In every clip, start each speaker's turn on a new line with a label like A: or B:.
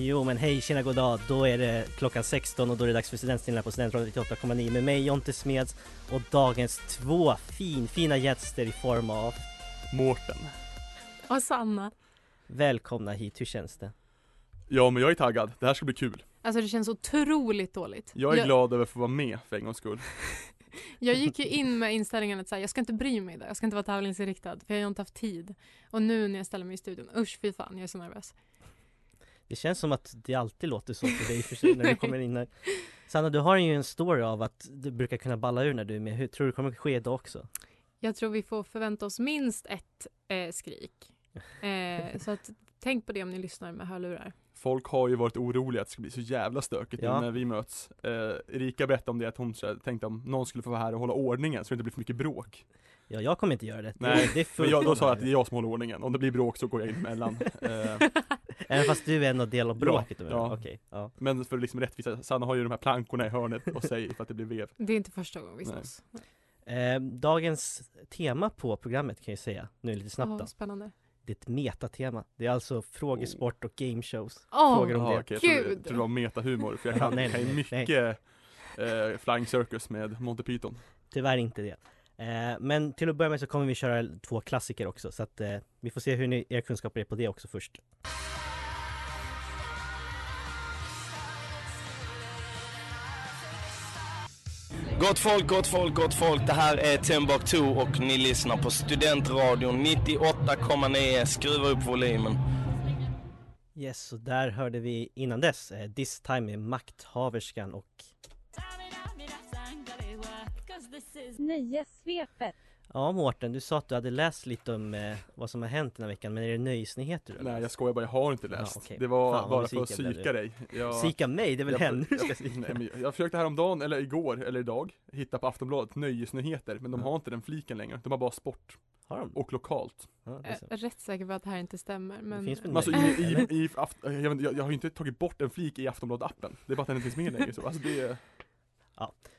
A: Jo men hej, tjena, god dag. Då är det klockan 16 och då är det dags för studentstilen här på Studentradion 98,9 med mig Jonte Smeds och dagens två finfina gäster i form av
B: Mårten.
C: Och Sanna.
A: Välkomna hit, hur känns det?
B: Ja, men jag är taggad. Det här ska bli kul.
D: Alltså det känns otroligt dåligt.
B: Jag är
D: jag,
B: glad över att få vara med för en gångs skull.
D: jag gick ju in med inställningen att så här, jag ska inte bry mig idag, jag ska inte vara tävlingsinriktad för jag har ju inte haft tid. Och nu när jag ställer mig i studion, usch fy fan jag är så nervös.
A: Det känns som att det alltid låter så för dig i och för sig när du kommer in här. Sanna, du har ju en story av att du brukar kunna balla ur när du är med. Hur tror du kommer ske idag också?
D: Jag tror vi får förvänta oss minst ett eh, skrik. Eh, så att tänk på det om ni lyssnar med hörlurar.
B: Folk har ju varit oroliga att det ska bli så jävla stökigt
A: Ja.
B: nu när vi möts. Eh, Erika berättade om det att hon så här tänkte om någon skulle få vara här och hålla ordningen så det inte blir för mycket bråk.
A: Ja, jag kommer inte göra det.
B: Nej,
A: det är
B: Men
A: fullt
B: jag, då sa jag
A: normalt.
B: att det är jag som håller ordningen. Om det blir bråk så går jag in emellan. Eh,
A: Även fast du är en del av
B: Ja,
A: bråket? då,
B: ja.
A: Okej, ja.
B: men för att liksom rättvisa, Sanna har ju de här plankorna i hörnet och säger för att det blir vev.
D: Det är inte första gången vi
B: Nej.
D: slåss.
A: Eh, dagens tema på programmet kan jag ju säga, nu lite snabbt då.
D: Åh, spännande.
A: Det är ett metatema. Det är alltså frågesport och gameshows.
D: Åh,
A: Frågar om
B: Jaha,
A: det.
B: okej, jag trodde,
D: Gud.
B: jag trodde det var metahumor för jag kan,
A: Nej,
B: jag kan ju
A: nej, nej.
B: mycket eh, Flying Circus med Monty Python.
A: Tyvärr inte det. Eh, men till att börja med så kommer vi köra två klassiker också, så att eh, vi får se hur ni, era kunskaper är på det också först.
E: Gott folk, gott folk, gott folk. Det här är Timbuktu och ni lyssnar på Studentradion 98,9. Skruva upp volymen.
A: Yes, så där hörde vi innan dess eh, This time med Makthaverskan och
F: Nöjesvepet.
A: Ja Mårten, du sa att du hade läst lite om eh, vad som har hänt den här veckan, men är det nöjesnyheter? du har
B: Nej
A: läst?
B: jag skojar bara, jag har inte läst.
A: Ja, okej.
B: Det var
A: Fan, vad
B: bara för att
A: besviken blev
B: psyka
A: du.
B: dig. Jag-
A: Sika mig, det är väl henne du
B: jag,
A: ska
B: jag,
A: sika?
B: nej, men jag- jag försökte häromdagen, eller igår, eller idag, hitta på Aftonbladet nöjesnyheter, men de
A: Ja.
B: har inte den fliken längre. De har bara sport
A: Har de?
B: och lokalt.
A: Ja, det är
D: Jag
A: så.
D: är rätt säker Eh, på att det här inte stämmer. Men...
A: finns väl
B: Men alltså, i,
A: Nej,
B: i,
A: eller?
B: i, aft, jag, vet, inte, jag, jag har ju inte tagit bort en flik i Aftonbladet-appen. Det är bara att den inte finns med längre. Så. Alltså, det, är-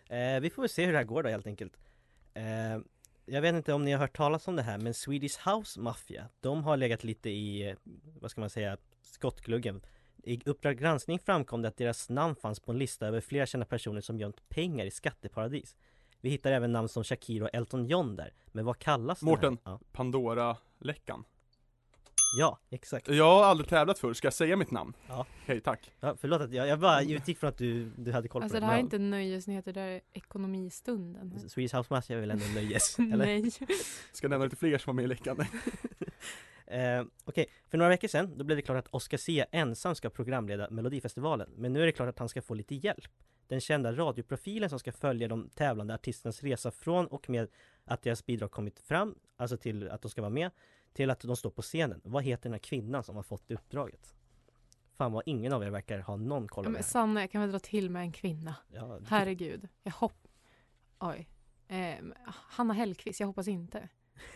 A: Eh, vi får väl se hur det här går då helt enkelt. Eh, jag vet inte om ni har hört talas om det här men Swedish House Mafia, de har legat lite i, eh, vad ska man säga, skottgluggen. I Uppdrag granskning framkom det att deras namn fanns på en lista över flera kända personer som gömt pengar i skatteparadis. Vi hittar även namn som Shakira och Elton John där, men vad kallas den här-
B: Mårten.
A: Ja.
B: Pandora-läckan.
A: ja, exakt.
B: Jag har aldrig tävlat förr, ska jag säga mitt namn?
A: Ja.
B: Hej, tack.
A: Ja, förlåt att jag, jag bara utgick från att du, du hade koll på
D: Alltså det här är inte nöjesnyheter, det här är ekonomistunden.
A: men Swedish House Mafia är väl ändå nöjes? eller?
D: Nej.
B: Ska jag nämna lite fler som var med i läckan?
A: Eh, Okej, för några veckor sedan då blev det klart att Oscar Sia ensam ska programleda Melodifestivalen. Men nu är det klart att han ska få lite hjälp. Den kända radioprofilen som ska följa de tävlande artisternas resa från och med att deras bidrag kommit fram, alltså till att de ska vara med, till att de står på scenen. Vad heter den här kvinnan som har fått uppdraget? Fan vad ingen av er verkar ha någon koll på
D: Ja,
A: det
D: men
A: här.
D: Sanna, jag kan väl dra till med en kvinna.
A: Ja, det-
D: Herregud. Jag hopp... Oj. Ehm, Hanna Hellquist, jag hoppas inte.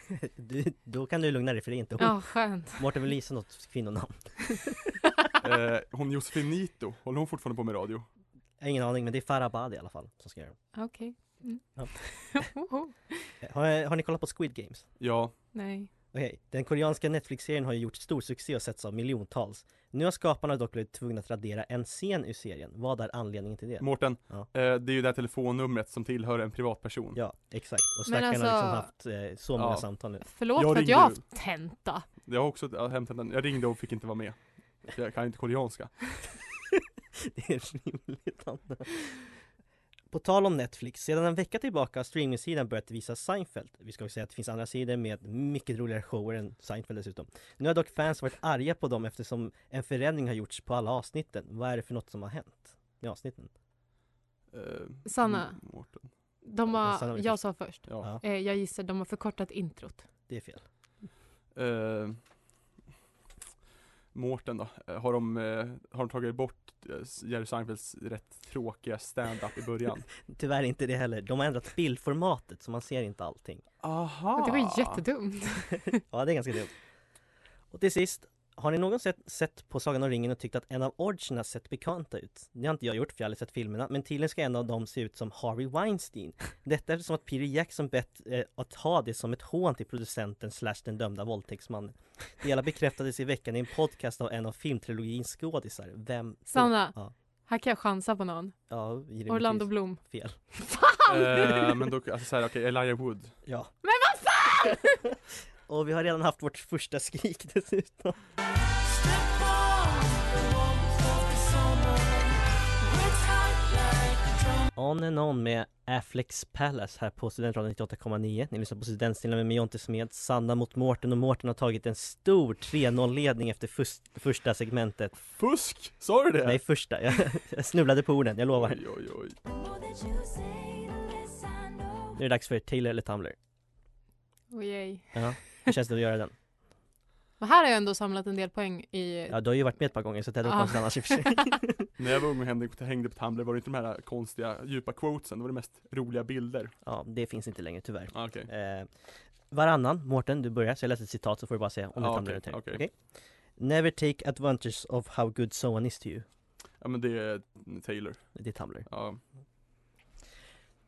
A: du, då kan du lugna dig för det är inte hon.
D: Ja, skönt.
A: Mårten vill gissa något kvinnonamn.
B: eh, hon Josefin Nito, håller hon fortfarande på med radio?
A: Jag har ingen aning men det är Farah Abadi i alla fall som ska göra det.
D: Okej. Mm.
A: Ja.
D: Oho.
A: Har, har ni kollat på Squid Games?
B: Ja,
D: Nej.
A: Okej, den koreanska Netflix-serien har ju gjort stor succé och setts av miljontals. Nu har skaparna dock blivit tvungna att radera en scen ur serien. Vad är anledningen till det?
B: Mårten.
A: Ja.
B: Eh, det är ju det här telefonnumret som tillhör en privatperson.
A: Ja, exakt. Och
D: Men
A: stackarna har liksom haft
D: alltså-
A: eh, så många
B: Ja.
A: samtal nu.
D: Förlåt
B: Jag
D: för att
B: ringde
D: jag har
B: ju.
D: haft tenta.
B: Jag har också ja, hämtat den, jag ringde och fick inte vara med. För jag kan inte koreanska.
A: Det är rimligt. Anna. På tal om Netflix, sedan en vecka tillbaka har streamingsidan börjat visa Seinfeld. Vi ska också säga att det finns andra sidor med mycket roligare shower än Seinfeld dessutom. Nu har dock fans varit arga på dem eftersom en förändring har gjorts på alla avsnitten. Vad är det för något som har hänt med avsnitten?
B: Eh,
D: Sanna.
B: Mårten.
D: De
A: Sanna
D: har,
A: var
D: jag
A: först.
D: sa först.
B: Ja.
A: Ja,
D: Eh, jag gissar, de har förkortat introt.
A: det är fel.
B: Eh, Mårten då? Eh, Har de, eh, har de tagit bort eh, Jerry Seinfelds rätt tråkiga stand-up i början?
A: Tyvärr inte det heller. De har ändrat bildformatet så man ser inte allting.
B: Aha!
D: Det var ju jättedumt.
A: Ja, det är ganska dumt. Och till sist, har ni någonsin sett, sett på Sagan om ringen och tyckt att en av orcherna sett bekanta ut? Det har inte jag gjort för jag har aldrig sett filmerna, men tydligen ska en av dem se ut som Harvey Weinstein. Detta eftersom att Peter Jackson bett eh, att ha det som ett hån till producenten slash den dömda våldtäktsmannen. Det hela bekräftades i veckan i en podcast av en av filmtrilogins skådisar. Vem?
D: Sanna.
A: Ja,
D: Här kan jag chansa på någon.
A: ja givetvis
D: Orlando Bloom.
A: Fel.
B: Eh, men då, alltså såhär, okej, Elijah Wood.
A: Ja.
D: Men vad fan!
A: Och vi har redan haft vårt första skrik dessutom. On and on med Afflecks Palace här på Studentradion 98,9. Ni lyssnar på Studentstilen med Jonte Smed, Sanna mot Mårten och Mårten har tagit en stor 3-0-ledning efter fus- första segmentet.
B: Fusk! Sa du det?
A: Nej, första. Jag, jag snubblade på orden, jag lovar.
B: Oj, oj, oj.
A: Nu är det dags för Taylor eller Tumblr.
D: Oh, yay.
A: Ja, hur känns det att göra den?
D: Men här har jag ändå samlat en del poäng i...
A: Ja, du har ju varit med ett par gånger så det hade varit
D: Ja.
A: konstigt annars i och för sig.
B: När jag var ung och hängde, hängde på Tumblr var det inte de här konstiga, djupa quotesen, det var det mest roliga bilder.
A: Ja, det finns inte längre tyvärr.
B: Ah, okej.
A: Eh, varannan, Mårten du börjar, så jag läser ett citat så får du bara säga om
B: Ja,
A: du tumlar
B: Ah, okej,
A: ut här.
B: okej.
A: Okej? Never take advantage of how good someone is to you.
B: Ja men det är Taylor.
A: Det är Tumblr.
B: Ja.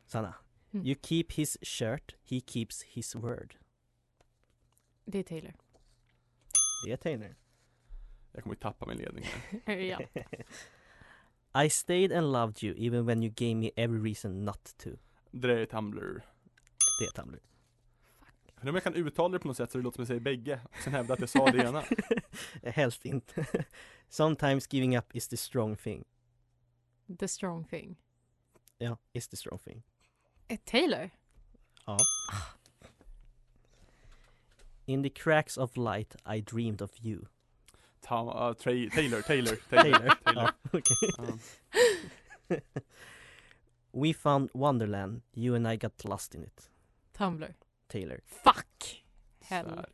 A: Sanna.
D: Mm.
A: You keep his shirt, he keeps his word.
D: Det är Taylor.
A: Det är Taylor.
B: Jag kommer ju tappa min ledning här.
D: ja.
A: I stayed and loved you even when you gave me every reason not to.
B: Det där är Tumblr.
A: Det är Tumblr.
B: Undrar om jag kan uttala det på något sätt så det låter som jag säger bägge, och sen hävda att jag sa det ena.
A: Eh, Helst inte. Sometimes giving up is the strong thing.
D: The strong thing.
A: Ja, is the strong thing.
D: Eh, Taylor?
A: Ja. In the cracks of light I dreamed of you.
B: Ta, ah, Tra- Taylor, Taylor,
A: Taylor.
B: Taylor. Taylor.
A: Ja, okej.
B: Ja.
A: We found Wonderland, you and I got lost in it.
D: Tumblr.
A: Taylor.
D: Fuck!
B: Så
D: Hell.
B: här.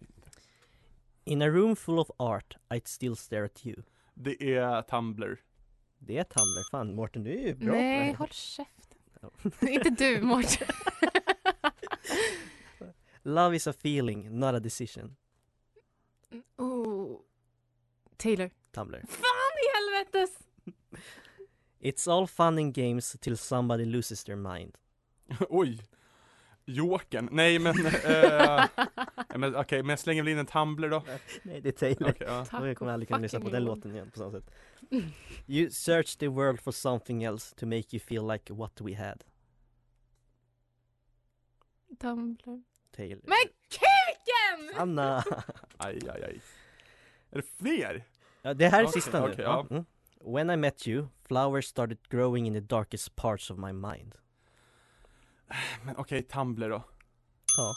A: In a room full of art, I'd still stare at you.
B: Det är Tumblr.
A: Det är Tumblr. Fan, Mårten du är ju bra på det
D: Nej,
A: här.
D: håll käften. Inte du, Mårten.
A: Love is a feeling, not a decision.
D: oh. Taylor.
A: Tumblr.
D: Fan i helvetes!
A: It's all fun and games till somebody loses their mind.
B: Oj! Jokern. Nej men, eh, ja, men okej, men jag slänger väl in en Tumblr då.
A: Nej, det är Taylor.
B: Okej, ja.
D: Tack
A: Alltså, jag kommer
D: och
A: aldrig kunna lyssna på
D: fucking
A: den
D: lov.
A: låten igen på samma sätt. You search the world for something else to make you feel like what we had.
D: Tumblr.
A: Taylor.
D: Men kuken!
A: Anna!
B: Aj, aj, aj. Är det fler?
A: Ja, det här är
B: Okej,
A: sista nu.
B: okej,
A: ja.
B: ja.
A: mm. When I met you, flowers started growing in the darkest parts of my mind.
B: Men okej, Tumblr då.
A: Ja.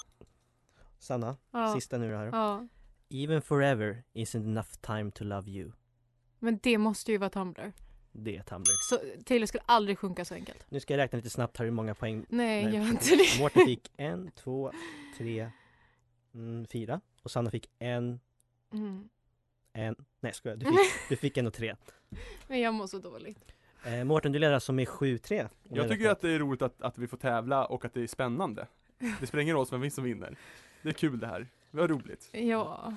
A: Sanna,
D: Ja.
A: sista nu det här.
D: ja.
A: Even forever isn't enough time to love you.
D: Men det måste ju vara Tumblr.
A: Det är Tumblr.
D: Så Taylor skulle aldrig sjunka så enkelt.
A: Nu ska jag räkna lite snabbt här hur många poäng
D: Nej,
A: Nej.
D: gör inte det.
A: Mårten fick. En, två, tre, mm, fyra. Och Sanna fick en,
D: Mm.
A: en. Nej skojar, du fick, du fick en och tre.
D: Men jag mår så dåligt.
A: Eh, Mårten, du leder alltså med 7-3. Om
B: Jag
A: räknar
B: tycker att
A: rätt.
B: det är roligt att, att vi får tävla och att det är spännande. Det spelar ingen roll vem som vinner. Det är kul det här. Det var roligt.
D: Ja.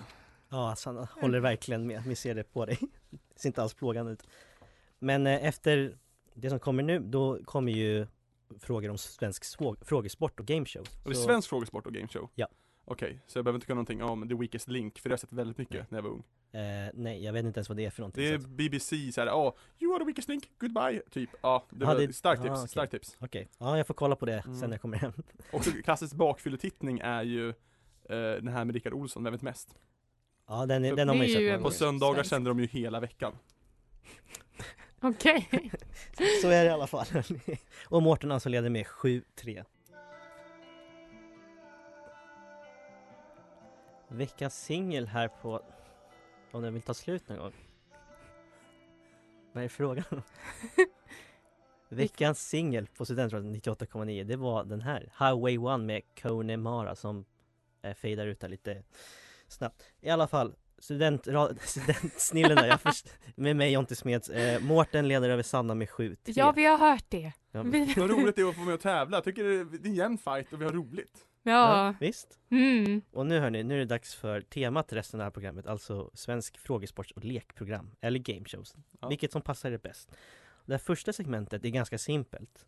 A: Ja, Sanna håller verkligen med. Vi ser det på dig. Det ser inte alls plågande ut. Men eh, efter det som kommer nu, då kommer ju frågor om svensk svå- frågesport och gameshow.
B: Och det är
A: Så-
B: svensk frågesport och gameshow?
A: Ja.
B: Okej, så jag behöver inte kunna någonting om The Weakest Link, för det har jag sett väldigt mycket när jag var ung.
A: Eh, nej, jag vet inte ens vad det är för någonting.
B: Det är
A: så att-
B: BBC såhär, ja, "Ah, you are the weakest link, goodbye, typ. Ja, det
A: Ja,
B: var
A: det-
B: starkt
A: ah,
B: tips,
A: okej.
B: starkt tips.
A: Okej, ja jag får kolla på det sen
B: Mm.
A: när jag kommer hem.
B: Också klassisk bakfylletittning är ju eh, den här med Rickard Olsson, Vem vet mest?
A: Ja den, är-
B: För-
A: den har man
D: Det är
A: ju
D: ju
A: sett.
D: en-
A: någon
B: På
A: gång.
B: söndagar
D: Svensk.
B: sänder de ju hela veckan.
D: Okej.
A: Så är det i alla fall. Och Mårten alltså leder med 7-3. Veckans singel här på... Om den vill ta slut någon gång. Vad är frågan? Veckans singel på Studentradion 98,9 det var den här. Highway 1 med Kone Mara som eh, fejdar ut här lite snabbt. I alla fall, studentrad... studentsnillen där, jag först... med mig Jonte Smeds. Eh, Mårten leder över Sanna med 7-3.
D: Ja, vi har hört det.
A: Ja,
D: Vi...
B: Vad roligt det är att få vara med och tävla. Jag tycker det är det är en jämn fight och vi har roligt.
D: Ja.
A: Visst.
D: Mm.
A: Och nu hörni, nu är det dags för temat resten av det här programmet, alltså svensk frågesports och lekprogram, eller gameshows.
B: Ja.
A: Vilket som passar er bäst. Det här första segmentet är ganska simpelt.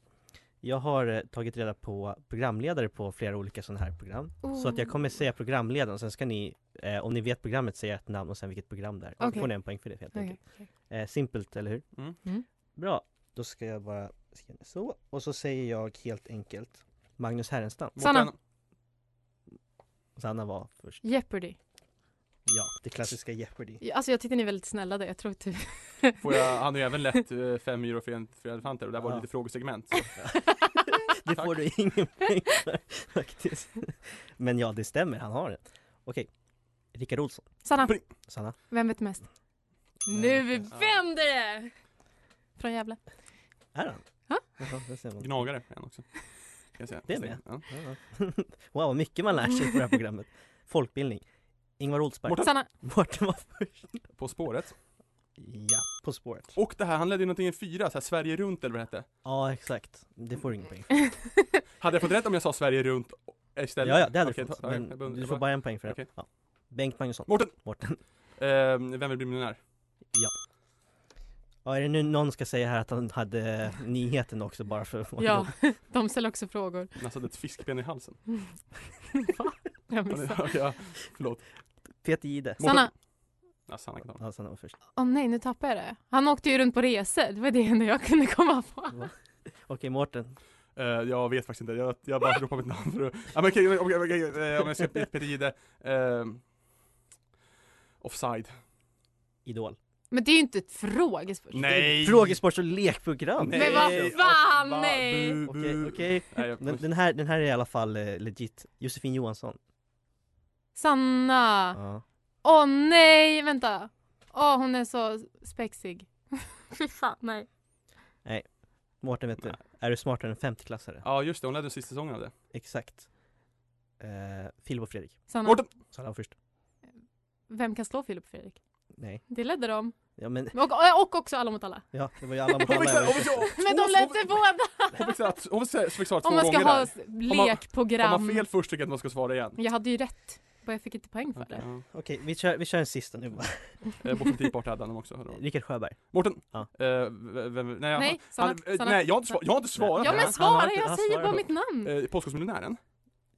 A: Jag har eh, tagit reda på programledare på flera olika sådana här program. Så
D: Oh.
A: att jag kommer säga programledaren och sen ska ni, eh, om ni vet programmet, säga ett namn och sen vilket program det är. Och
D: Okej.
A: Då får ni en poäng för det helt
D: Okej.
A: enkelt. Eh, simpelt, eller hur?
B: Mm.
D: Mm.
A: Bra, då ska jag bara skriva ner så. Och så säger jag helt enkelt Magnus Härenstam.
D: Sanna.
B: Mårten,
A: Sanna var först.
D: Jeopardy.
A: Ja, det klassiska Jeopardy.
D: Alltså jag tyckte ni är väldigt snälla där. Jag tror typ...
B: Får jag, han har ju även lett eh, fem euro för en- för elefanter och där var det
A: Ja.
B: lite frågesegment. Så.
A: Det
B: Tack.
A: får du ingen poäng för faktiskt. Men ja, det stämmer, han har det. Okej, Rickard Olsson.
D: Sanna,
B: Pri-
A: Sanna.
D: vem vet mest? Nu vänder det! Från Gävle.
A: Är han?
D: Ja.
A: Jaha, det ser man.
B: Gnagare är han också. Kan jag säga.
A: Det är med.
B: Ja.
A: Ja. Wow, vad mycket man lär sig på det här programmet. Folkbildning. Ingvar Oldsberg.
B: Mårten.
D: Sanna,
A: Mårten var först.
B: På spåret.
A: Ja, På spåret.
B: Och det här, han ledde ju någonting i fyra, så här Sverige runt eller vad det hette.
A: Ja, exakt. Det får du ingen poäng för.
B: Hade jag fått rätt om jag sa Sverige runt istället?
A: Ja, ja, det hade
B: Okej,
A: du fått.
B: ta- ta- jag
A: Men
B: behöver-
A: du
B: jag
A: får
B: bara-
A: bara en poäng för det.
B: Okej.
A: Ja. Bengt Magnusson.
B: Mårten!
A: Mårten.
B: Eh, vem vill bli miljonär?
A: Ja, är det nu någon ska säga här att han hade nyheten också bara för att få
D: ja. De ställer också frågor.
B: Han hade ett fiskben i halsen.
D: Va? Jag missade.
B: ja, förlåt.
A: Peter Jihde.
B: Mårten.
D: Sanna,
B: Ja, Sanna kan ta den.
A: Ja, Sanna var först.
D: åh nej nu tappade jag det. Han åkte ju runt på resor. Det var det enda jag kunde komma på.
A: Okej, Mårten.
B: Eh, jag vet faktiskt inte, jag, jag bara ropar mitt namn för att... Ja men okej, okej, okej, eh, om jag ser Peter Jihde. eh, offside.
A: Idol.
D: Men det är ju inte ett frågespörsmål.
B: Nej!
A: Frågesports och lekprogram!
B: Nej.
D: Men vad fan,
B: Va-
D: nej!
B: bu- bu-
A: Okej, okej.
B: Nej, jag-
A: Den, den, här, den här är i alla fall eh, legit. Josefin Johansson.
D: Sanna.
A: Ja.
D: Åh nej, vänta. Åh hon är så spexig. Fy fan, nej.
A: Mårten vet du,
B: Nej.
A: är du smartare än femteklassare?
B: Ja just det, hon ledde den sista säsongen av det.
A: Exakt. Eh, Filip och Fredrik.
D: Sanna,
B: Mårten!
A: Sanna var först.
D: vem kan slå Filip och Fredrik?
A: Nej.
D: Det ledde de.
A: Ja men,
D: Och, och- och också Alla mot alla.
A: ja, det var ju alla mot
B: Hon
A: alla.
B: fick
A: jag
B: säga-
A: var
B: hon fick
A: först.
B: säga-
D: Men de
B: hon-
D: läste båda!
B: hon fick säga- Hon fick säga- fick svara två
D: Om man ska
B: gånger
D: ha
B: där.
D: s-
B: Om man- Om
D: lekprogram.
B: man fel först tycker jag att man ska svara igen.
D: Jag hade ju rätt. Och jag fick inte poäng för det.
B: Okay.
A: Okej, vi kör, vi kör en sista nu bara.
B: Bortom Tipart Eh, hade han dem också. hörde du.
A: Rickard Sjöberg.
B: Mårten!
A: Ja.
B: Eh, v- vem, nej,
D: Nej,
B: han,
D: Sanna.
B: han, eh,
D: Sanna.
B: nej jag, har inte svar, jag har inte svarat
D: Ja
B: på
D: men
B: det.
A: Han har
D: svara,
A: inte- han
D: jag säger
A: svarar
D: bara
A: på-
D: mitt namn.
B: Eh, Påskåsmiljonären?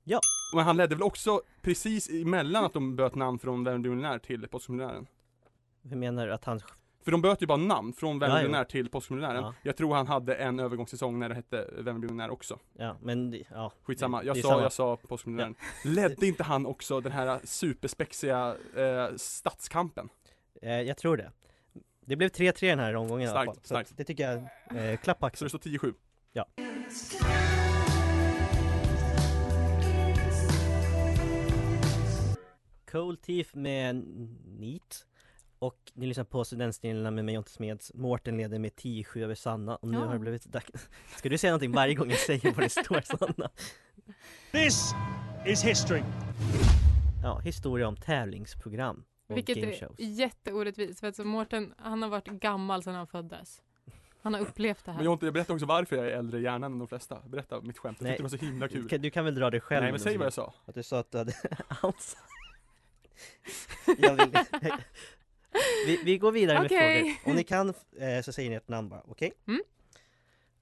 A: Ja.
B: Men han ledde väl också precis emellan att de bytte namn från Vem blir miljonär till Påskmiljonären?
A: Hur menar du att han...
B: För de bytte ju bara namn från Vem
A: Ja,
B: blir
A: jo.
B: miljonär till Påskmiljonären.
A: Ja.
B: Jag tror han hade en övergångssäsong när det hette Vem blir miljonär också.
A: Ja, men det- ja.
B: Skitsamma,
A: det-
B: jag
A: det är
B: sa,
A: samma.
B: jag sa Påskmiljonären. Ledde inte han också den här superspexiga eh, stadskampen?
A: Eh, jag tror det. Det blev 3-3 den här omgången i alla
B: Starkt,
A: fall. Så att det tycker jag, eh, klapp
B: Så det
A: på axeln.
B: står 10-7.
A: Cool Thief med Neat. Och ni lyssnar på Studentstilarna med mig Jonte Smeds. Mårten leder med 10-7 över Sanna. Och nu
D: Ja.
A: har det blivit dags. Ska du säga någonting varje gång jag säger vad det står Sanna?
F: This is history.
A: Ja, historia om tävlingsprogram.
B: Eh,
A: Och
D: Vilket är
A: gameshows.
D: jätteorättvist. För att så Mårten, han har varit gammal sedan han föddes. Han har upplevt det
B: Men
D: här.
B: jag, jag berättar också varför jag är äldre i hjärnan än de flesta. Berätta mitt skämt, jag tyckte det var så himla
A: Du
B: kul.
A: kan, du kan väl dra det själv?
B: Nej
A: nu,
B: men säg vad jag
A: så-
B: sa.
A: Att du sa att du hade Alzheimer. jag vill... vi, vi går vidare med
D: Okej.
A: frågor. Om ni kan eh, så säger ni ert namn bara, okej?
D: Mm.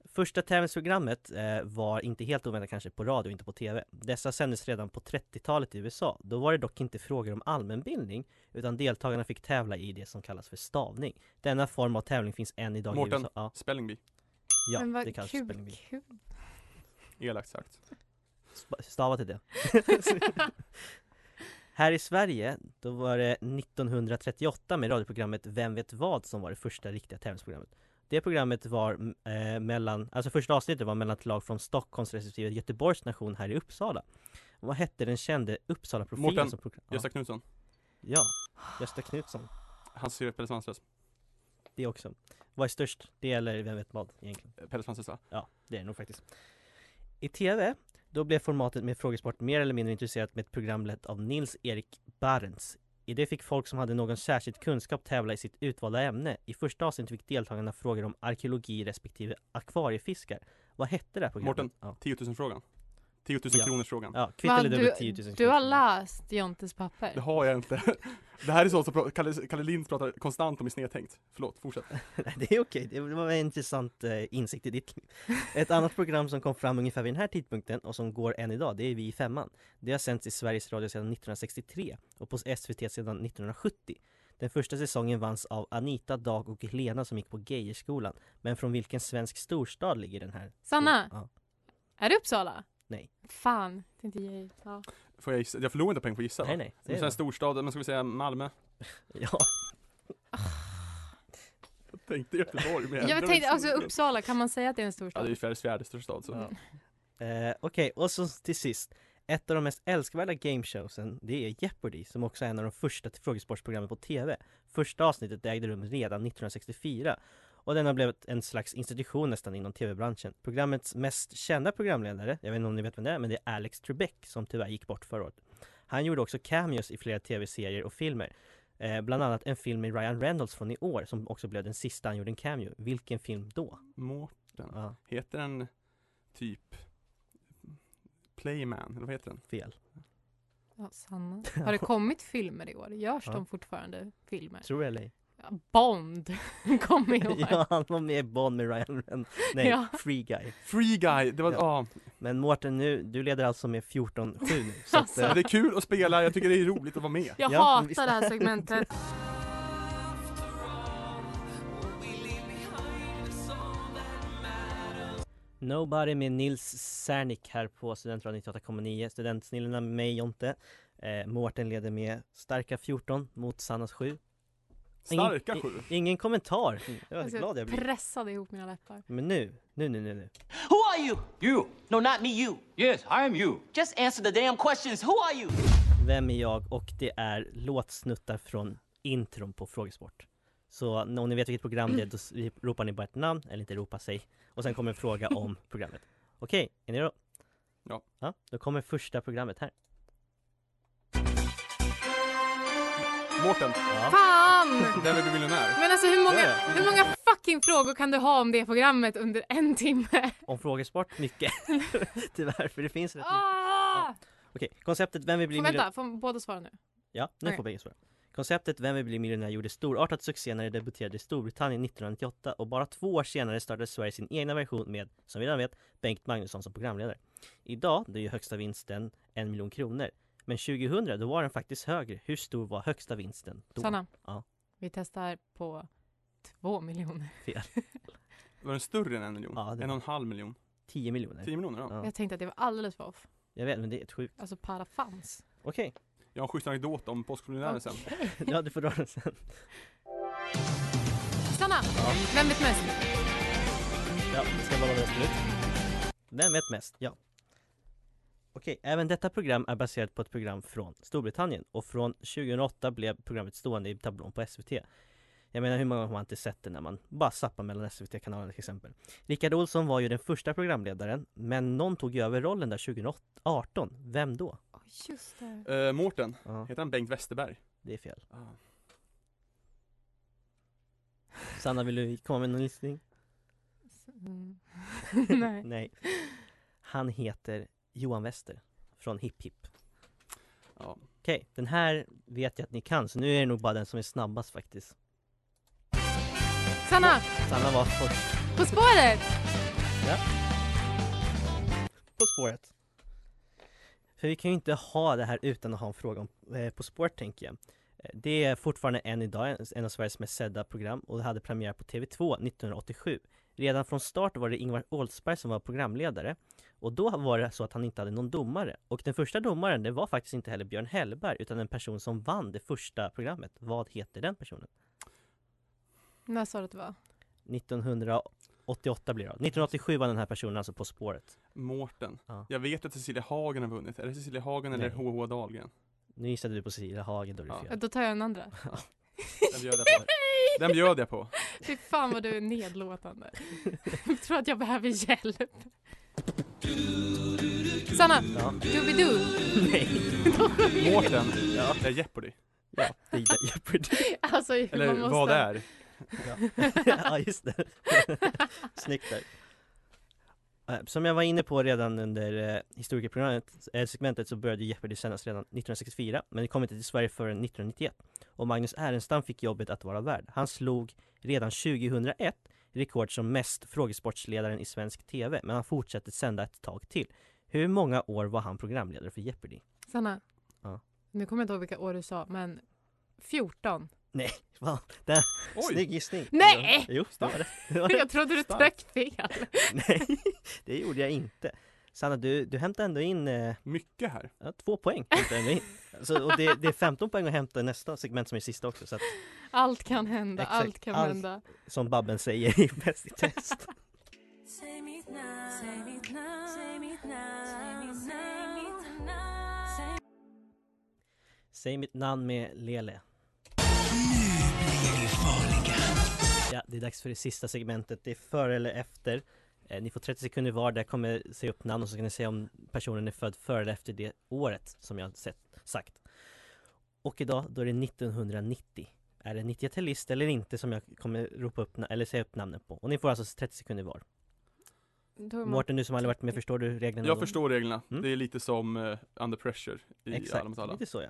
A: Första tävlingsprogrammet eh, var inte helt oväntat kanske på radio, inte på TV. Dessa sändes redan på 30-talet i USA. Då var det dock inte frågor om allmänbildning, utan deltagarna fick tävla i det som kallas för stavning. Denna form av tävling finns än idag i
B: Mårten.
A: USA. Ja,
B: Spelling Bee.
A: ja
D: men
A: det
D: vad
A: kallas
D: kul,
A: spelling bee.
D: kul.
B: Elakt sagt.
A: Sp- Stava till det. Här i Sverige, då var det 1938 med radioprogrammet Vem vet vad som var det första riktiga tävlingsprogrammet. Det programmet var mm, eh, mellan, alltså första avsnittet var mellan ett lag från Stockholms respektive Göteborgs nation här i Uppsala. Vad hette den kände Uppsala-profilen
B: Mårten,
A: som program... Ja,
B: Gösta Knutsson.
A: ja, Gösta Knutsson.
B: Han ser Pelle Svanslös.
A: Det också. Vad är störst? Det eller vem vet vad egentligen?
B: Eh, Pelle Svanslös va?
A: Ja, det är det nog faktiskt. I TV, då blev formatet med frågesport mer eller mindre introducerat med ett program lett av Nils-Erik Barents. I det fick folk som hade någon särskild kunskap tävla i sitt utvalda ämne. I första avsnittet fick deltagarna frågor om arkeologi respektive akvariefiskar. Vad hette det här programmet?
B: Mårten.
A: Ja,
B: 10 000 frågan. 10 000
A: Ja.
B: kronors frågan.
A: ja kvitt
D: Va,
A: eller dubbelt 10
D: du,
A: 000
D: du har
A: kronor.
D: läst Jontes papper.
B: Det har jag inte. Det här är sånt som pra- Kalle, Kalle Lind pratar konstant om i Snedtänkt. Förlåt, fortsätt.
A: Nej, det är okej, det var en intressant eh, insikt i ditt liv. Ett annat program som kom fram ungefär vid den här tidpunkten och som går än idag, det är Vi i femman. Det har sänts i Sveriges Radio sedan 1963 och på SVT sedan 1970. Den första säsongen vanns av Anita, Dag och Helena som gick på Geijerskolan. Men från vilken svensk storstad ligger den här?
D: Sanna!
A: Ja.
D: Är det Uppsala?
A: Nej.
D: Fan, tänkte jag. Ja.
B: Får jag gissa? Jag förlorar inte poäng på att gissa. va?
A: Nej, nej.
B: Det är
A: det.
B: en storstad, men ska vi säga Malmö?
A: Ja, Ah.
B: Jag tänkte Göteborg men
D: Jag tänkte, alltså Uppsala, kan man säga att det är en
B: Ja,
D: storstad?
B: det är ju Sveriges fjärde största stad så.
A: Eh, Okej, och så till sist. Ett av de mest älskvärda gameshowsen, det är Jeopardy, som också är en av de första till frågesportsprogrammen på TV. Första avsnittet ägde rum redan 1964 och den har blivit en slags institution nästan inom TV-branschen. Programmets mest kända programledare, jag vet inte om ni vet vem det är, men det är Alex Trebek som tyvärr gick bort förra året. Han gjorde också cameos i flera TV-serier och filmer. Eh, bland annat en film med Ryan Reynolds från i år som också blev den sista han gjorde en cameo. Vilken film då?
B: Mårten.
A: Ja,
B: Heter den typ Playman, eller vad heter den?
A: fel.
D: Ja, Sanna. Har det kommit filmer i år? Görs
A: Ja.
D: de fortfarande filmer?
A: Tror jag eller ej?
D: Ja, Bond kom i år.
A: Ja, han var med i Bond med Ryan Reynolds. Nej,
D: Ja.
A: Free Guy.
B: Free Guy! Det var,
A: Ja.
B: ja.
A: Men Mårten, nu, du leder alltså med 14-7 nu. Så
D: Alltså.
A: att,
B: Men
A: eh,
B: Det är kul att spela, jag tycker det är roligt att vara med.
D: Jag
A: Ja, visst.
D: hatar det här segmentet.
A: Nobody med Nils Cernik här på Studentradion 98,9. Studentsnillena med mig Jonte. Eh, Mårten leder med starka 14 mot Sannas 7.
B: Starka
A: Ingen-
B: sju.
A: Ingen kommentar. Mm, Jag är
D: Alltså,
A: glad jag blir.
D: pressade ihop mina läppar.
A: Men nu, nu, nu, nu, nu.
G: Who are you? You. No, not me, you. Yes, I am you. Just answer the damn questions. Who are you?
A: Vem är jag? Och det är låtsnuttar från intron på Frågesport. Så om ni vet vilket program det är, då s- ropar ni bara ett namn, eller inte ropa sig. Och sen kommer en fråga om programmet. Okej, är ni redo?
B: Ja.
A: ja. Då kommer första programmet här.
B: Mårten,
D: Fan!
B: Vem vill bli miljonär?
D: Men alltså hur många,
A: Ja.
D: hur många fucking frågor kan du ha om det programmet under en timme?
A: Om Frågesport, mycket. Tyvärr, för det finns rätt mycket.
D: Ah!
A: Okej, konceptet Vem vill bli
D: Får
A: miljonär?
D: vänta, får båda svara nu?
A: Ja, nu
D: Okej.
A: får bägge svara. Konceptet Vem vill bli miljonär gjorde storartat succé när det debuterade i Storbritannien 1998 och bara två år senare startade Sverige sin egna version med, som vi redan vet, Bengt Magnusson som programledare. Idag, det är ju högsta vinsten en miljon kronor. Men 2000, då var den faktiskt högre. Hur stor var högsta vinsten då?
D: Sanna.
A: Ja.
D: Vi testar på två miljoner.
B: Var den större än en miljon?
A: Ja, det var-
B: en och en halv miljon?
A: 10 miljoner.
B: Tio miljoner? Ja.
A: Ja,
D: Jag tänkte att det var alldeles för off.
A: jag vet, men det är ett sjukt.
D: Alltså parafans.
A: Okej,
B: Jag har en schysst anekdot om Påskmiljonären sen.
A: ja du får dra den sen.
D: Sanna! Vem vet mest?
A: Ja, det ska bara vara slut. Vem vet mest? Ja. Okej, även detta program är baserat på ett program från Storbritannien och från 2008 blev programmet stående i tablån på SVT. Jag menar hur många har man inte sett det när man bara zappar mellan SVT-kanalerna till exempel. Rickard Olsson var ju den första programledaren men någon tog ju över rollen där 2018. Vem då?
D: Oh, just det.
B: Uh, Mårten,
A: Ja,
B: heter han Bengt Westerberg?
A: det är fel. Sanna, vill du komma med någon gissning?
D: Mm. Nej.
A: Nej. Han heter Johan Wester från Hipp Hipp.
B: Ja.
A: Okej, den här vet jag att ni kan, så nu är det nog bara den som är snabbast faktiskt.
D: Sanna!
A: Sanna var först
D: På spåret!
A: På spåret. För vi kan ju inte ha det här utan att ha en fråga om eh, På spåret tänker jag. Eh, Det är fortfarande än idag en- en av Sveriges mest sedda program och det hade premiär på TV2 1987. Redan från start var det Ingvar Oldsberg som var programledare och då var det så att han inte hade någon domare och den första domaren det var faktiskt inte heller Björn Hellberg utan en person som vann det första programmet. Vad heter den personen?
D: När sa du att det var?
A: 1988 blir det då. 1987 var den här personen alltså På spåret.
B: Mårten.
A: Ja.
B: Jag vet att Cecilia Hagen har vunnit. Är det Cecilia Hagen eller
A: Nej.
B: HH Dahlgren?
A: Nu gissade du på Cecilia Hagen, då är det
B: Ja.
A: fel.
D: Ja, Då tar jag den andra.
B: Den bjöd jag på. Den bjöd jag på.
D: Fy fan vad du är nedlåtande. Jag tror att jag behöver hjälp. Sanna,
A: Ja.
D: Doobidoo.
A: Nej,
B: Mårten. Ja. Det är Jeopardy.
A: ja, det är Jeopardy.
D: Alltså,
B: Eller
D: man måste...
B: vad det är.
A: ja, just det. Snyggt där. Eh, Som jag var inne på redan under eh, historikerprogrammet, eh, segmentet, så började Jeopardy sändas redan 1964, men det kom inte till Sverige förrän 1991. Och Magnus Ehrenstam fick jobbet att vara värd. Han slog redan 2001 rekord som mest frågesportsledaren i svensk TV, men han fortsatte sända ett tag till. Hur många år var han programledare för Jeopardy?
D: Sanna,
A: Ja.
D: nu kommer jag inte ihåg vilka år du sa, men 14.
A: Fan, den,
B: Oj.
A: snygg gissning!
D: Nej!
A: Jo, det var det. det. var det.
D: Jag trodde du
A: Starkt.
D: tryckte fel.
A: Nej, det gjorde jag inte. Sanna, du, du hämtade ändå in eh,
B: Mycket här.
A: ja, två poäng. hämtade du ändå in. Alltså, och det, det är 15 poäng att hämta i nästa segment som är sista också. Så att,
D: Allt kan hända,
A: Exakt,
D: allt kan
A: allt.
D: hända.
A: som Babben säger i Bäst i test. Säg mitt namn med Lele. Ja, det är dags för det sista segmentet. Det är före eller efter. Eh, ni får 30 sekunder var. Där kommer jag se upp namn och så kan ni säga om personen är född före eller efter det året som jag har sett, sagt. Och idag, då är det 1990. Är det 90-talist eller inte som jag kommer ropa upp, na- eller säga upp namnen på? Och ni får alltså 30 sekunder var.
D: Då är man-
A: Mårten, du som aldrig varit med, förstår du reglerna?
B: Jag
A: då?
B: förstår reglerna.
A: Mm.
B: Det är lite som eh, Under Pressure i Alla mot
A: Exakt,
B: alla.
A: lite så ja.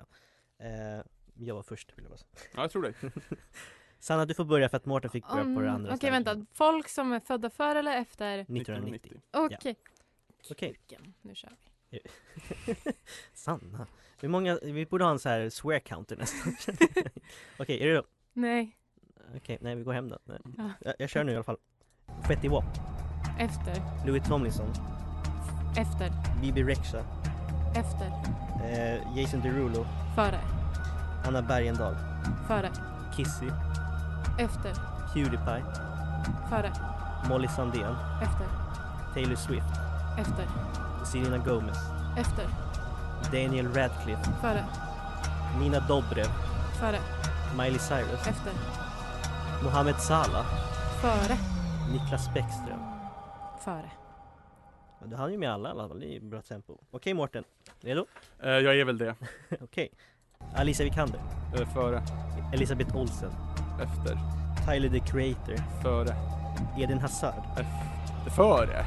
A: Eh, jag var först vill jag bara säga.
B: Ja, jag tror det.
A: Sanna, du får börja för att Mårten fick börja
D: Om-
A: på det andra
D: Mm, Okej,
A: stället.
D: vänta. Folk som är födda före eller efter?
A: 1990.
D: Okej.
A: Okej,
D: Vilken? Nu kör vi.
A: Sanna. Hur många, vi borde ha en så här swear counter nästan. Okej, är du
D: Nej,
A: Okej, nej vi går hem då. Nej.
D: Ja.
A: Jag, jag kör nu i alla fall. Fetty Wap,
D: efter,
A: Louis Tomlinson,
D: efter,
A: Bibi Rexha,
D: efter,
A: eh, Jason Derulo,
D: före,
A: Anna Bergendahl,
D: före,
A: Kissy,
D: efter,
A: Pewdiepie,
D: före,
A: Molly Sandén,
D: efter,
A: Taylor Swift,
D: efter,
A: Selena Gomez,
D: efter,
A: Daniel Radcliffe,
D: före,
A: Nina Dobrev,
D: före,
A: Miley Cyrus,
D: efter,
A: Mohamed Salah,
D: före,
A: Niklas Bäckström.
D: före.
A: Ja, Du hann ju med alla i alla fall, det är ju bra tempo. Okej Mårten, redo?
B: Eh, jag är väl det.
A: Okej. Alicia Vikander,
B: Eh, före,
A: Elisabeth Olsen,
B: efter,
A: Tyler the Creator,
B: före,
A: Edin Hazard,
B: efter, före.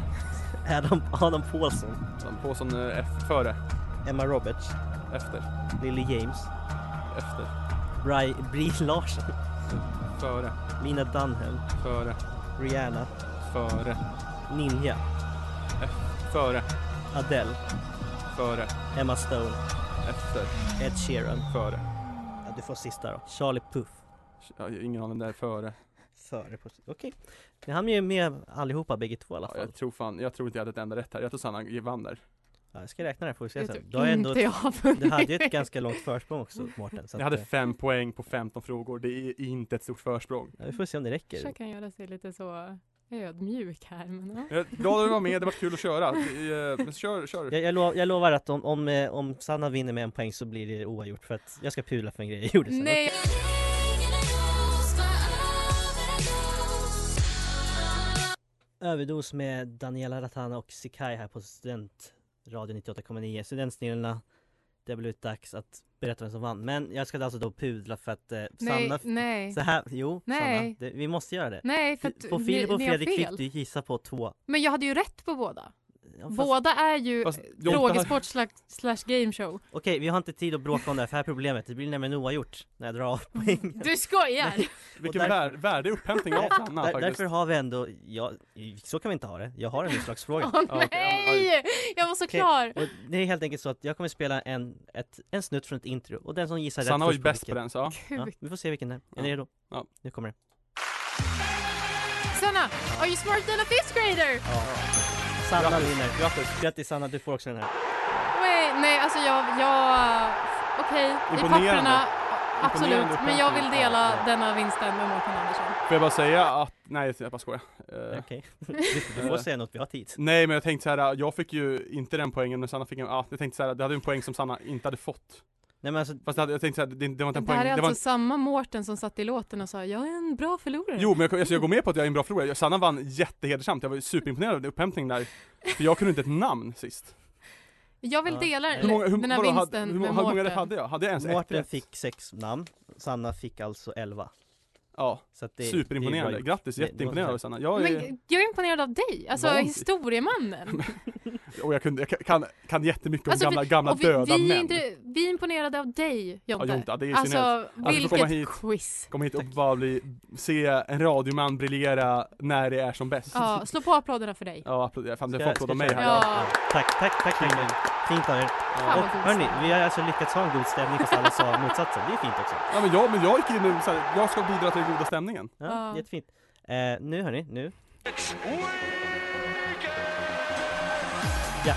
A: Adam, Adam Paulsson,
B: De på som eh, F, före,
A: Emma Roberts,
B: efter,
A: Lily James,
B: efter,
A: Bri, Brie Larson,
B: före,
A: Lina Dunham,
B: före,
A: Rihanna,
B: före,
A: Ninja,
B: före,
A: Adele,
B: före,
A: Emma Stone,
B: efter,
A: Ed Sheeran.
B: före.
A: Ja, du får sista då. Charlie Puff.
B: Jag har ingen aning där före.
A: Före på... Okej. Ni hann ju med allihopa bägge två i alla
B: Ja,
A: fall.
B: jag tror fan, jag tror inte jag hade ett enda rätt här. Jag tror Sanna vann där.
A: Ja, jag ska räkna det här får vi se
D: Det tror
B: typ
A: sen. Du har ju ändå...
D: inte jag har vunnit.
A: Du hade ju ett ganska långt försprång också Mårten. Så
B: Jag
A: att,
B: hade
A: eh,
B: fem poäng på 15 frågor. Det är inte ett stort försprång.
A: ja, vi får se om det räcker.
D: Kanske kan göra sig lite så ödmjuk här. Men, ja.
B: Jag är glad att du var med, det var kul att köra. Det, eh, Men kör, kör.
A: Jag, jag, lo- jag lovar att om, om, eh, om Sanna vinner med en poäng så blir det oavgjort för att jag ska pula för en grej jag gjorde sen.
D: Nej,
A: Överdos med Daniela Ratana och Sikai här på Studentradio 98,9. Studentsnillena, det har blivit dags att berätta vem som vann. Men jag ska alltså då pudla för att eh,
D: nej,
A: Sanna...
D: nej,
A: Så här, jo, Sanna,
D: Nej.
A: det, vi måste göra det.
D: nej, för
A: på
D: att
A: Filip
D: ni,
A: och
D: ni har
A: Fredrik
D: fel.
A: fick du gissa på två.
D: Men jag hade ju rätt på båda.
A: Ja, fast-
D: Båda är ju
B: Fast-
D: eh,
B: Jo, det här-
D: frågesport slash, slash gameshow.
A: Okej, vi har inte tid att bråka om det här, för det här problemet, det blir nämligen oavgjort när jag drar av
D: Mm.
A: poängen.
D: Du skojar!
B: Vilken
A: och där-
B: vär, värdig upphämtning av Sanna
A: Där,
B: faktiskt.
A: därför har vi ändå, ja, så kan vi inte ha det. Jag har en utslagsfråga.
D: Åh
B: Ja, okej, ja,
D: nej! Jag var så
A: Okej,
D: klar!
A: Och det är helt enkelt så att jag kommer spela en, ett, en snutt från ett intro och den som gissar
B: Sanna var
A: rätt
B: ju
A: först
B: bäst på
A: vilken-
B: den så. ja.
D: Kuk.
A: Ja, vi får se vilken det är. Är
B: Ja.
A: ni redo?
B: Ja.
A: Nu kommer det.
D: Sanna, are you smarter than a fifth grader?
A: Sanna vinner. Grattis! Grattis Sanna, du får också den här.
D: Nej, nej alltså jag, jag okej, i
B: Imponerande.
D: papperna, absolut,
B: Imponerande
D: men jag
B: upplevelse.
D: vill dela
B: Ja.
D: denna vinsten med Mårten Andersson.
B: Får jag bara säga att, nej jag bara skojar. Eh,
A: Okej. Du får
B: eh,
A: säga något, vi har tid.
B: Nej men jag tänkte så här, jag fick ju inte den poängen men Sanna fick en, ah, jag tänkte så här, det hade en poäng som Sanna inte hade fått.
A: Nej men alltså,
B: Fast det hade, jag tänkte så här, det, det var inte en
D: Det
B: poäng.
D: här är
B: det
D: alltså
B: var en,
D: samma Mårten som satt i låten och sa jag är en bra förlorare.
B: Jo men jag, alltså, jag går med på att jag är en bra förlorare, Sanna vann jättehedersamt, jag var superimponerad av upphämtningen där. För jag kunde inte ett namn sist.
D: Jag vill
A: Ja.
D: dela
B: Hur många, hur,
D: den här
B: vadå, hade,
D: vinsten
B: hur, många-
D: med
B: hur många
D: Mårten.
B: rätt hade jag? Hade jag ens ett
A: Mårten
B: rätt?
A: fick sex namn, Sanna fick alltså elva.
B: Ja,
A: Så att det,
B: superimponerande.
A: det är bra gjort.
B: Grattis,
A: Det- det var
B: jätteimponerad av
A: så
B: Sanna. Jag är,
D: Men jag är imponerad av dig, alltså
B: Vanligt.
D: historiemannen.
B: och jag, kunde, jag kan, kan jättemycket om
D: Alltså,
B: gamla, gamla
D: och
B: döda
D: vi, är
B: män.
D: inte- vi är imponerade av dig Jonte.
B: Ja, Jonte, det är i synnerhet.
D: alltså
B: får
D: vilket
B: komma hit.
D: quiz.
B: Kom hit och bara bli, se en radioman briljera när det är som bäst.
D: Ja, slå på applåderna för dig.
B: Ja, applåder. Fan, det
A: Ska
B: får
A: jag-
B: applåd av
A: ska
B: mig
A: jag
B: här.
D: köra?
B: Ja.
D: Ja.
A: Tack, tack, tack Ingrid. Fint av er.
D: vad
A: Och
D: fint.
A: hörni, vi har alltså lyckats ha en god stämning fast alla sa motsatsen. Det är fint också.
B: Ja, men jag, men jag gick in nu så här, jag ska bidra till den goda stämningen.
A: Ja,
D: Ja.
A: jättefint. Eh, nu hörni, nu. Ja,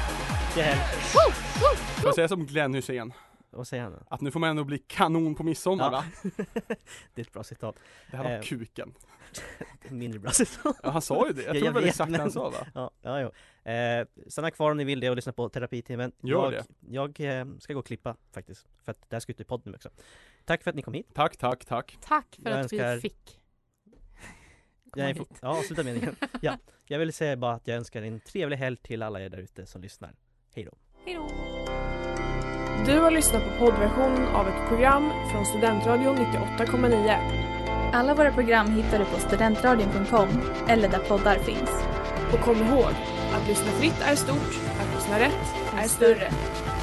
A: det är helg.
B: Får jag säga som Glenn Hysén,
A: Vad säger han då?
B: att nu får man ändå bli kanon på midsommar
A: Ja.
B: va?
A: Det är ett bra citat.
B: Det här var
A: Eh.
B: kuken.
A: Mindre bra citat.
B: Ja, han sa ju det. Jag
A: Ja,
B: tror det var
A: vet,
B: exakt det
A: men-
B: han sa va?
A: Ja, ja, jo. Eh, stanna kvar om ni vill det och lyssna på terapitimmen.
B: Gör
A: jag, Jag eh, ska gå och klippa faktiskt. För att det här ska ut i podden nu också. Tack för att ni kom hit.
B: Tack, tack, tack.
D: Tack för
A: Jag
D: att
A: önskar-
D: vi fick.
A: Jag är,
D: Komma hit.
A: ja, sluta meningen. Ja, jag vill säga bara att jag önskar en trevlig helg till alla er där ute som lyssnar. Hej då.
D: Hej då.
H: Du har lyssnat på poddversionen av ett program från Studentradion 98,9.
C: Alla våra program hittar du på studentradion.com eller där poddar finns.
H: Och kom ihåg, att lyssna fritt är stort, att lyssna rätt är större.